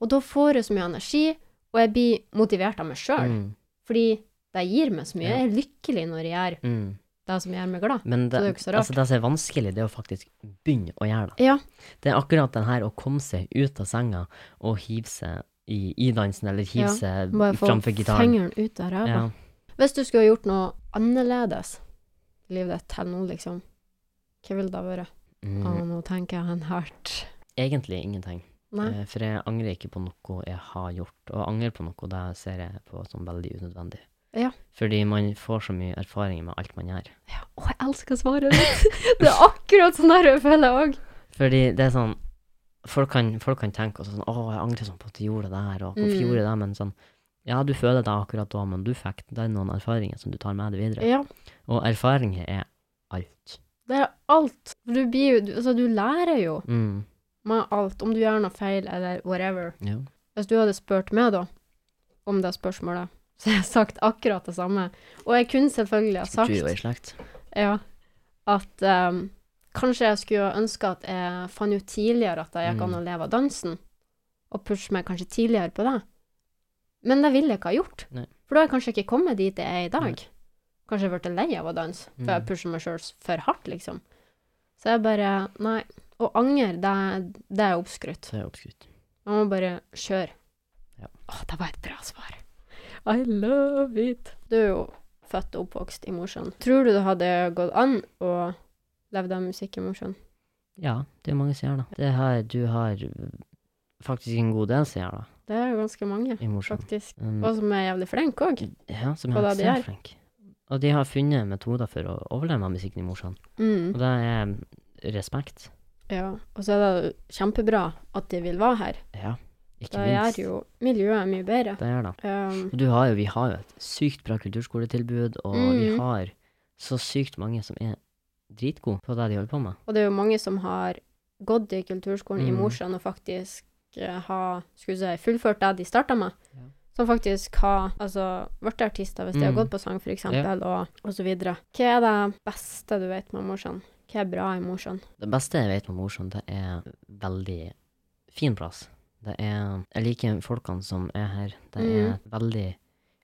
A: Og da får jeg så mye energi, og jeg blir motivert av meg sjøl,
B: Mm.
A: fordi det gir meg så mye.
B: Ja.
A: Jeg er lykkelig når jeg gjør
B: Mm.
A: det som gjør meg glad.
B: Men det,
A: det er jo ikke så rart.
B: altså, det som er vanskelig, det er å faktisk begynne å gjøre det.
A: Ja.
B: Det er akkurat den her å komme seg ut av senga og hive seg i, i dansen, eller hive
A: Ja,
B: seg
A: Bare få
B: framfor gitaren.
A: fingeren ut av ræva.
B: Ja.
A: Hvis du skulle gjort noe annerledes i livet ditt til nå, liksom, hva ville det vært? Å,
B: Mm.
A: nå tenker jeg han hardt.
B: Egentlig ingenting.
A: Nei.
B: Eh, For jeg angrer ikke på noe jeg har gjort. Og å angre på noe, det ser jeg på som veldig unødvendig.
A: Ja.
B: Fordi man får så mye erfaring med alt man gjør.
A: Ja. Å, jeg elsker svaret ditt! det er akkurat sånn der jeg føler òg.
B: Fordi det er sånn Folk kan, folk kan tenke også sånn 'Å, jeg angrer sånn på at jeg gjorde det der', og 'hvorfor
A: Mm.
B: gjorde jeg det?' Men sånn Ja, du føler det akkurat da, men du fikk det er noen erfaringer som du tar med deg videre.
A: Ja.
B: Og erfaringer er alt.
A: Det er alt. For Du blir jo du- Altså, du lærer jo
B: Mm.
A: med alt, om du gjør noe feil eller whatever.
B: Ja.
A: Hvis du hadde spurt meg, da, om det spørsmålet, så hadde jeg sagt akkurat det samme. Og jeg kunne selvfølgelig ha
B: Du
A: sagt
B: er jo i slekt.
A: Ja. At ehm, kanskje jeg skulle ønske at jeg fant ut tidligere at det gikk an
B: Mm.
A: å leve av dansen, og pushe meg kanskje tidligere på det. Men det ville jeg ikke ha gjort.
B: Nei.
A: For da har jeg kanskje ikke kommet dit jeg er i dag.
B: Nei.
A: Kanskje jeg ble lei av å danse, for
B: Mm.
A: jeg pusher meg sjøl for hardt, liksom. Så jeg bare Nei. Å angre, det, det er oppskrytt.
B: Det er oppskrytt.
A: Man må bare kjøre.
B: Ja.
A: Å, det var et bra svar. I love it. Du er jo født og oppvokst i Mosjøen. Tror du det hadde gått an å leve av musikk i Mosjøen?
B: Ja, det er mange som gjør det. Det her, du har faktisk en god del som gjør det,
A: Det er jo ganske mange,
B: i Mosjøen.
A: faktisk.
B: Um,
A: Og som er jævlig flinke òg.
B: ja, som
A: og
B: er
A: da de er.
B: ekstremt flink. Og de har funnet metoder for å overleve med musikken i Mosjøen, og
A: Mm.
B: det er respekt.
A: Ja. Og så er det jo kjempebra at de vil være her.
B: Ja,
A: Det
B: ikke
A: gjør
B: minst.
A: jo miljøet mye bedre.
B: Det gjør det.
A: Um,
B: Og Du har jo, vi har jo et sykt bra kulturskoletilbud, og vi
A: Mhm.
B: har så sykt mange som er dritgode på det de holder på med.
A: og det er jo mange som har gått i kulturskolen i
B: Mm.
A: Mosjøen og faktisk eh, har skulle si, fullført det de starta med.
B: Ja.
A: Som faktisk har altså, blitt artister hvis de har
B: Mm.
A: gått på sang, f.eks., eksempel og, og så videre. Hva er det beste du vet med Mosjøen? Hva er bra i Mosjøen?
B: Det beste jeg vet med Mosjøen, det er veldig fin plass. Det er, jeg liker folkene som er her. Det er
A: Mhm.
B: et veldig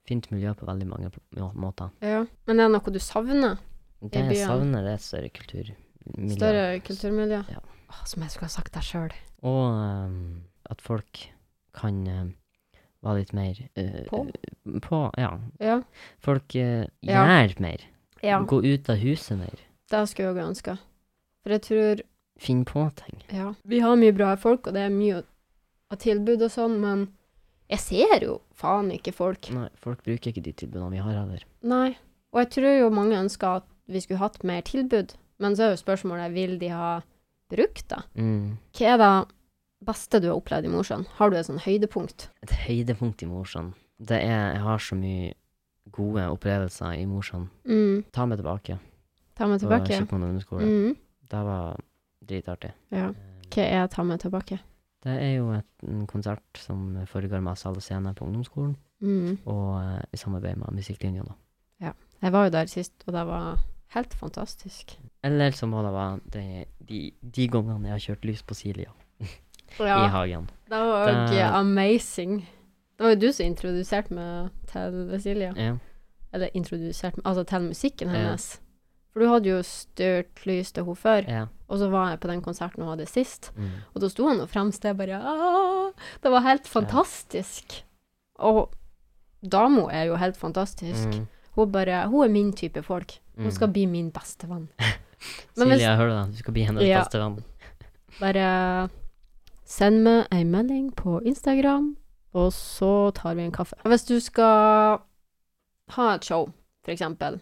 B: fint miljø på veldig mange pl- måter.
A: Ja. Men er det noe du savner?
B: Det
A: byen.
B: jeg savner, det er et større kulturmiljø.
A: Større kulturmiljø?
B: Ja.
A: Åh, som jeg skulle ha sagt deg sjøl.
B: Og ehm, eh, at folk kan eh, være litt mer eh,
A: På?
B: på, ja.
A: Ja.
B: Folk eh,
A: Ja.
B: gjør mer.
A: ja.
B: Gå ut av huset mer.
A: Det skulle jeg òg ønska. For jeg tror
B: Finn på ting.
A: Ja. Vi har mye bra folk, og det er mye å- av tilbud og sånn, men jeg ser jo faen ikke folk.
B: Nei, folk bruker ikke de tilbudene vi har heller.
A: Nei. Og jeg tror jo mange ønsker at vi skulle hatt mer tilbud, men så er jo spørsmålet vil de ha brukt det?
B: Mm.
A: Hva er det beste du har opplevd i Mosjøen? Har du et sånn høydepunkt?
B: Et høydepunkt i Mosjøen. Det er Jeg har så mye gode opplevelser i Mosjøen.
A: Mm.
B: Ta meg tilbake.
A: Ta meg
B: På
A: tilbake.
B: Skipmoen ungdomsskole.
A: Mm.
B: Det var dritartig.
A: Ja.
B: Eh,
A: Hva er ta meg tilbake?
B: Det er jo et, en konsert som foregår med sal og scene på ungdomsskolen,
A: Mm.
B: og eh, i samarbeid med musikklinja, da.
A: Jeg var jo der sist, og det var helt fantastisk.
B: Eller så må det være de, de, de gangene jeg har kjørt lys på Silja i hagen.
A: Det var òg
B: Det-
A: amazing. Det var jo du som introduserte meg til Silja.
B: Ja.
A: Eller introduserte meg, altså til musikken
B: Ja.
A: hennes. For du hadde jo styrt lys til henne før,
B: ja.
A: og så var jeg på den konserten hun hadde sist.
B: Mm.
A: Og da sto han og fremst der bare «Ah!» Det var helt fantastisk. Og dama er jo helt fantastisk.
B: Mm.
A: Hun bare Hun er min type folk. Hun
B: Mm.
A: skal bli min bestevenn. Men hvis-
B: Silja, hører du det? Du skal bli hennes
A: Ja.
B: beste venn.
A: Bare send meg ei melding på Instagram, og så tar vi en kaffe. Hvis du skal ha et show, for eksempel.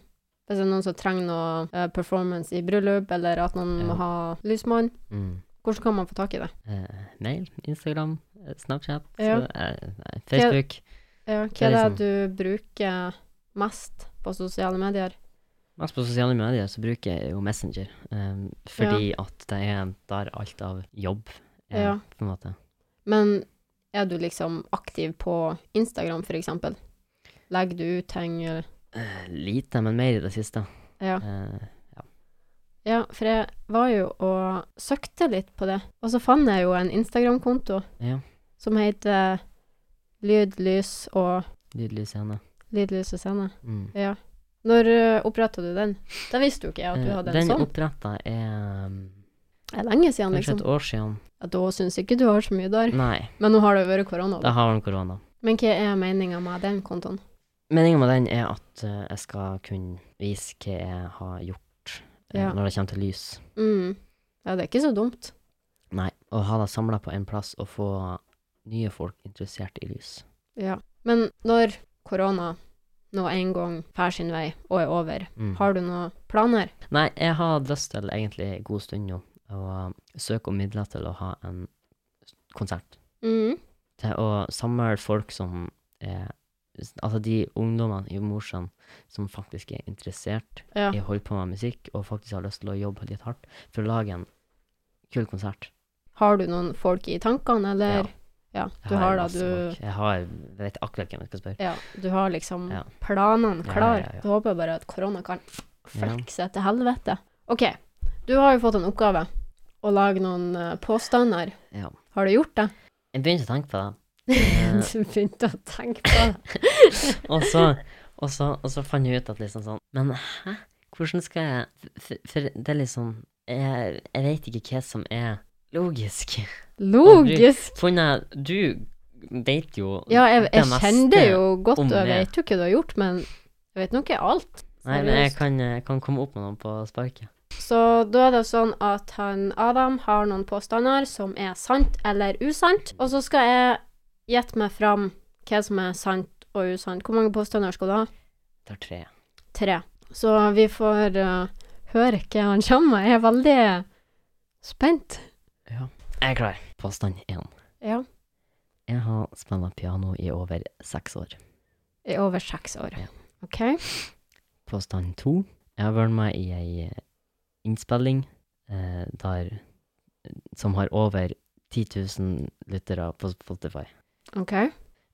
A: Hvis det er noen som trenger noe eh, performance i bryllup, eller at noen
B: Ja.
A: må ha lysmann,
B: Mm.
A: hvordan kan man få tak i det?
B: Eh, mail, Instagram, eh, Snapchat,
A: Ja.
B: så, eh, nei, Facebook.
A: Ja, hva
B: er
A: er det
B: liksom-
A: du bruker mest på sosiale medier?
B: Mest på sosiale medier så bruker jeg jo Messenger, eh, fordi at det er der alt av jobb er,
A: Ja.
B: på en måte.
A: Men er du liksom aktiv på Instagram, for eksempel? Legger du ut ting, eller
B: Eh, lite, men mer i det siste.
A: Ja.
B: Eh,
A: Ja, for jeg var jo og søkte litt på det, og så fant jeg jo en Instagram-konto
B: ja.
A: som heter Lyd, lys og
B: Nydelig scene.
A: Lyd, lys og scene.
B: Mm.
A: Ja. Når uh, oppretta du den? Det visste jo ikke jeg at du
B: Eh,
A: hadde en
B: Den
A: sånn.
B: oppretta er um,
A: Det er lenge siden,
B: kanskje
A: liksom.
B: et år siden.
A: Ja, da syns jeg ikke du har så mye der.
B: Nei,
A: Men nå har det jo vært korona.
B: da
A: Da.
B: har han korona.
A: Men hva er meninga med den kontoen?
B: Meningen med den er at eh, jeg skal kunne vise hva jeg har gjort eh,
A: Ja.
B: når det kommer til lys.
A: Mm. Ja, det er ikke så dumt.
B: Nei, å ha det samla på en plass og få nye folk interessert i lys.
A: Ja. Men når korona nå en gang fær sin vei og er over,
B: Mm.
A: har du noen planer?
B: Nei, jeg har hatt lyst til egentlig en god stund nå å eh, søke om midler til å ha en s- konsert.
A: Mm.
B: Til å samle folk som er Altså de ungdommene i Mosjøen som faktisk er interessert
A: Ja.
B: i å holde på med musikk, og faktisk har lyst til å jobbe litt hardt for å lage en kul konsert.
A: Har du noen folk i tankene, eller? Ja,
B: Jeg
A: du har da,
B: masse
A: du
B: folk. Jeg har, jeg vet akkurat hvem jeg skal spørre.
A: Ja, du har liksom
B: Ja.
A: planene
B: Ja,
A: klar.
B: ja, ja.
A: Du håper bare at korona kan flekse til helvete. OK, du har jo fått en oppgave. Å lage noen eh, påstander.
B: Ja.
A: Har du gjort det?
B: Jeg begynte å tenke på det. Eh.
A: du begynte å tenke på det.
B: Og så, og så, og så fant jeg ut at liksom sånn Men hæ? Hvordan skal jeg For, for det er liksom jeg, jeg vet ikke hva som er logisk.
A: Logisk!
B: Funnet Du vet jo
A: Ja, jeg,
B: det
A: jeg
B: meste.
A: kjenner jo godt,
B: om
A: og jeg
B: det.
A: vet jo hva du har gjort, men jeg vet nå ikke alt.
B: Nei, men jeg
A: Seriøst.
B: kan, jeg kan komme opp med noe på sparket.
A: Så da er det sånn at han Adam har noen påstander som er sant eller usant, og så skal jeg gjette meg fram hva som er sant og usant. Hvor mange påstander skal du ha?
B: Tar tre.
A: Tre. Så vi får eh, høre hva han kommer med. Jeg er veldig spent.
B: Jeg er klar. Påstand én.
A: Ja.
B: Jeg har spilt piano i over seks år.
A: I over seks år.
B: Ja.
A: OK.
B: Påstand to. Jeg har vært med i ei eh, innspilling eh, der som har over 10 000 lyttere på Spotify.
A: ok.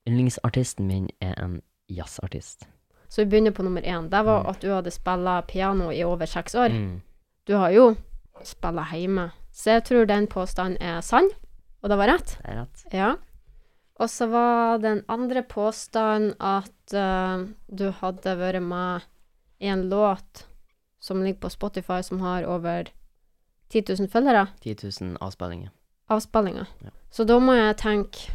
B: Yndlingsartisten min er en jazzartist.
A: Så vi begynner på nummer én. Det var
B: Mm.
A: at du hadde spilla piano i over seks år.
B: Mm.
A: Du har jo spilla hjemme. Så jeg tror den påstanden er sann, og det var rett.
B: Det er rett.
A: Ja. Og så var den andre påstanden at eh, du hadde vært med i en låt som ligger på Spotify, som har over 10 000 følgere,
B: 10 000 avspillinger.
A: avspillinger.
B: Ja.
A: Så da må jeg tenke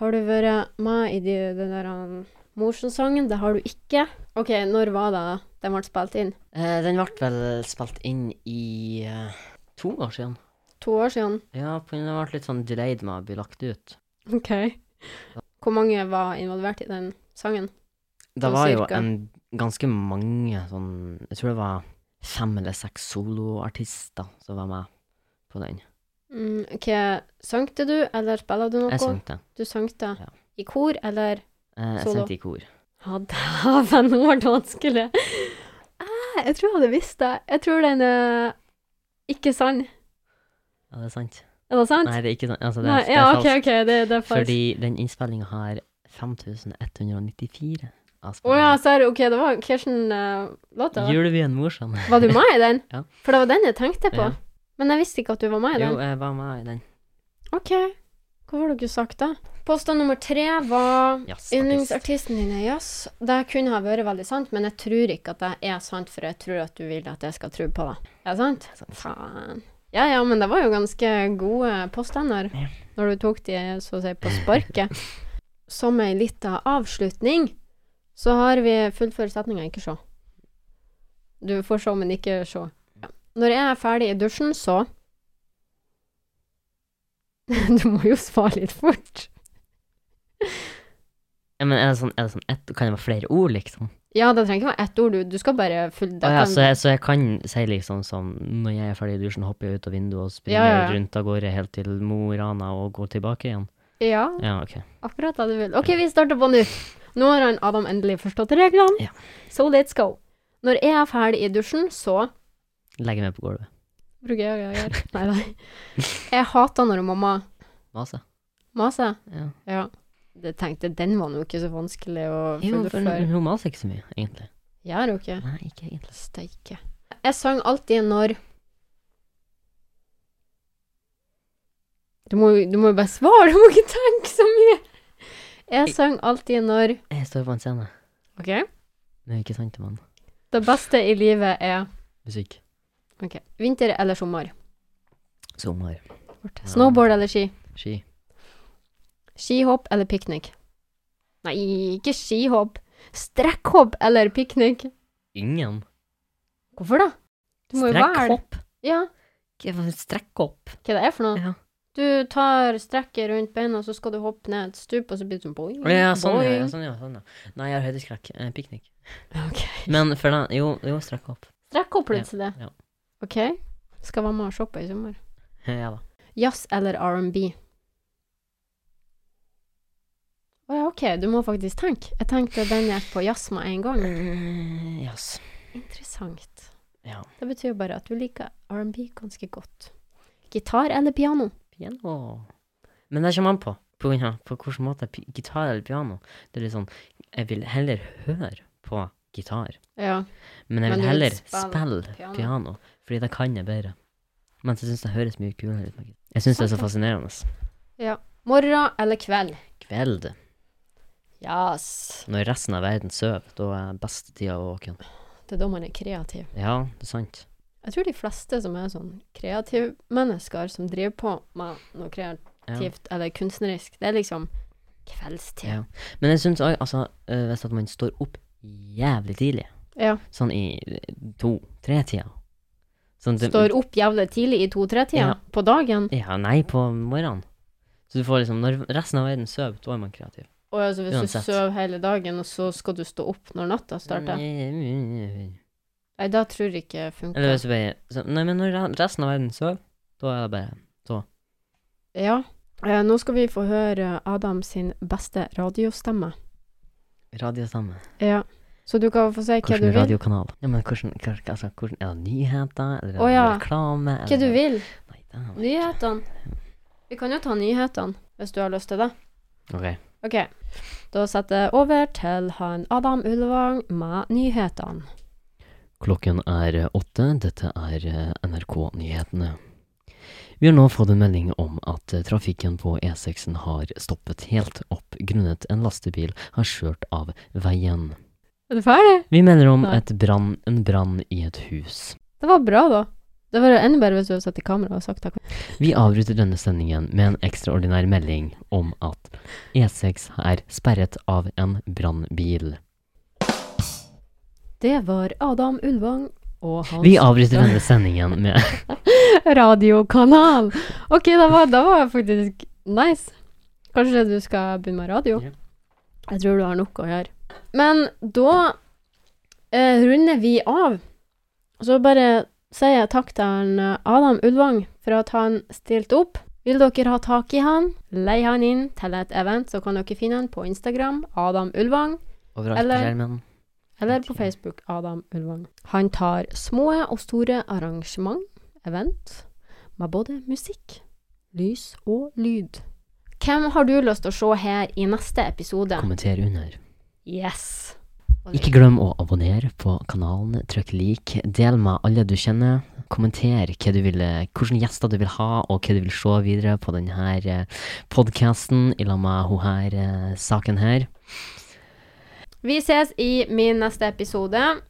A: Har du vært med i de, den der han, Morsen-sangen? Det har du ikke. OK, når var det den ble spilt inn?
B: Eh, den ble vel spilt inn i eh, to år siden.
A: To år siden?
B: Ja, på grunn av at den ble litt sånn delayed med å bli lagt ut.
A: OK. Hvor mange var involvert i den sangen?
B: Det
A: Sånn
B: var jo
A: cirka.
B: en ganske mange sånn Jeg tror det var fem eller seks soloartister som var med på den.
A: Mm, OK, sangte du, eller spiller du noe?
B: Jeg sang det.
A: Du sangte
B: Ja.
A: i kor, eller
B: Eh, jeg
A: Solo.
B: sang det i kor.
A: Ja, dæven, nå ble det vanskelig. Eh, Jeg tror jeg hadde visst det. Jeg tror den er ikke sann.
B: Ja, det er sant.
A: Er det sant?
B: Nei, det er ikke sant. Altså, det,
A: Nei,
B: er- det
A: ja,
B: er
A: OK,
B: falskt.
A: OK, det, det er falskt.
B: Fordi den innspillinga har 5194
A: Å ja, serr. OK, det var Kirsten uh, låta. da.
B: Julebyen Morsom.
A: Var du med i den?
B: Ja.
A: For det var den jeg tenkte på.
B: Ja.
A: Men jeg visste ikke at du var med i
B: Jo,
A: den.
B: jeg var med i den.
A: OK. Hva har dere sagt, da? Påstand nummer tre var
B: Yes, faktisk.
A: Yndlingsartisten din er jazz. Det kunne ha vært veldig sant, men jeg tror ikke at det er sant, for jeg tror at du vil at jeg skal tro på det. Er det sant?
B: Sant.
A: Faen. Ja ja, men det var jo ganske gode påstander
B: Ja.
A: når du tok de så å si på sparket. Som ei lita avslutning så har vi fullføre setninga 'ikke se'. Du får se, men ikke se. Ja. Når jeg er ferdig i dusjen, så Du må jo svare litt fort.
B: Ja, men er det sånn, er det sånn ett, kan det være flere ord, liksom?
A: Ja, det trenger ikke være ett ord, du. Du skal bare full...
B: Å
A: det
B: ja,
A: kan-
B: så, jeg, så jeg kan si liksom sånn Når jeg er ferdig i dusjen, hopper jeg ut av vinduet og springer
A: Ja, ja, ja.
B: rundt av gårde helt til Mo i Rana og går tilbake igjen?
A: ja,
B: Ja, OK.
A: akkurat det du vil. OK, vi starter på nå. Nå har han Adam endelig forstått reglene.
B: Ja.
A: So let's go. Når jeg er ferdig i dusjen, så
B: Legger meg på gulvet.
A: Bruker jeg å gjøre Nei, nei. Jeg hater når mamma
B: Mase.
A: maser.
B: Ja.
A: Ja. Jeg tenkte den var nå ikke så vanskelig å
B: Jo, for
A: fullføre.
B: hun maser ikke så mye, egentlig.
A: Gjør hun ikke?
B: Nei, ikke egentlig.
A: Steike. Jeg sang alltid når Du må jo du må jo bare svare, du må ikke tenke så mye! Jeg sang alltid når
B: Jeg står på en scene.
A: OK?
B: Det er ikke sant, mann.
A: Det beste i livet er
B: Musikk.
A: OK. Vinter eller sommer?
B: Sommer.
A: Snowboard eller ski?
B: Ski.
A: Skihopp eller piknik? Nei, ikke skihopp. Strekkhopp eller piknik?
B: Ingen.
A: Hvorfor da? Du må jo være
B: Strekkhopp.
A: Ja,
B: Strekkhopp.
A: hva det er for noe?
B: Ja.
A: Du tar strekket rundt beina, så skal du hoppe ned et stup, og så blir det sånn boing,
B: Ja, sånn, ja, ja,
A: boing.
B: sånn, ja, sånn, ja. Nei, jeg har høydeskrekk. Eh, Piknik.
A: Ok.
B: Men for den Jo, jo strekkhopp.
A: Strekkhopp plutselig.
B: Ja, ja.
A: OK. Skal være med og se på i sommer.
B: Ja da.
A: Jazz eller R&B? Å ja, OK, du må faktisk tenke. Jeg tenkte den gikk på jazz med en gang. Mm,
B: Eh, Jazz.
A: Interessant.
B: Ja.
A: Det betyr jo bare at du liker R&B ganske godt. Gitar eller piano?
B: Piano. Men det kommer an på. På, grunn av- på hvilken måte. Pi- Gitar eller piano. Det er litt sånn Jeg vil heller høre på gitar,
A: Ja.
B: men
A: Men
B: jeg vil
A: du vil
B: heller
A: spille
B: spille
A: piano.
B: piano. fordi det kan jeg bedre. Men jeg syns det høres mye kulere ut. faktisk. Jeg syns det er så
A: Sant,
B: fascinerende.
A: Morgen eller kveld?
B: Kveld,
A: Yes.
B: når resten av verden sover, da er beste tida å våken.
A: Det er da man er kreativ.
B: Ja, det er sant.
A: Jeg tror de fleste som er sånn kreativmennesker som driver på med noe kreativt
B: Ja.
A: eller kunstnerisk, det er liksom kveldstid.
B: Ja. Men jeg syns òg, altså, øh, hvis at man står opp jævlig tidlig,
A: Ja.
B: sånn i to-tre-tida sånn, det-
A: Står opp jævlig tidlig i to-tre-tida
B: Ja.
A: på dagen.
B: Ja, nei, på morgenen. Så du får liksom Når resten av verden sover, da er man kreativ.
A: Og altså, hvis
B: Uansett.
A: du sover hele dagen, og så skal du stå opp når natta
B: Mm.
A: starter
B: Eller
A: Nei, da tror jeg ikke det funker.
B: hvis du bare så, Nei, men når re- resten av verden sover, da er det bare
A: Ja. Eh, nå skal vi få høre Adam sin beste radiostemme.
B: radiostemme.
A: Ja. Så du kan få si hva du
B: Hvilken
A: vil.
B: radiokanal? Ja, men hvordan, hva- altså, hvordan Er det nyheter? Eller er det
A: Å, ja.
B: reklame?
A: Hva du vil.
B: Nei, da.
A: Nyhetene. Vi kan jo ta nyhetene, hvis du har lyst til det.
B: OK.
A: OK. Da setter jeg over til han Adam Ullevang med nyhetene.
B: Klokken er åtte. Dette er eh, NRK Nyhetene. Vi har nå fått en melding om at eh, trafikken på E6-en har stoppet helt opp grunnet en lastebil har kjørt av veien.
A: Er du ferdig?
B: Vi melder om
A: Nei.
B: et brann, en brann i et hus.
A: Det var bra, da. Det var enda bedre hvis du hadde satt i kamera og sagt takk.
B: Vi avbryter denne sendingen med en ekstraordinær melding om at E6 er sperret av en brannbil.
A: Det var Adam Ulvang og hans
B: Vi avbryter denne sendingen med
A: radiokanal. Ok, da var, da var jeg faktisk nice. Kanskje du skal begynne med radio?
B: Ja.
A: Jeg tror du har nok å gjøre. Men da eh, runder vi av. Så bare sier jeg takk til han, eh, Adam Ulvang for at han stilte opp. Vil dere ha tak i han, lei han inn til et event, så kan dere finne han på Instagram, Adam Ulvang.
B: Overalt på
A: Eller-
B: skjermen.
A: Eller på
B: Ok.
A: Facebook, Adam Ulvang. Han tar små og store arrangement, event, med både musikk, lys og lyd. Hvem har du lyst til å se her i neste episode?
B: Kommenter under.
A: Yes!
B: Ikke glem å abonnere på kanalen, trykk lik, del med alle du kjenner, kommenter hva du vil, hvilke gjester du vil ha, og hva du vil se videre på denne podkasten i lag med hun her, eh, saken her.
A: Vi ses i min neste episode.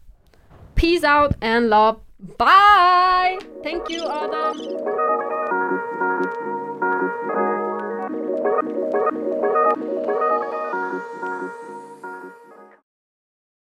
A: Peace out and love. Bye! Thank you, Adam.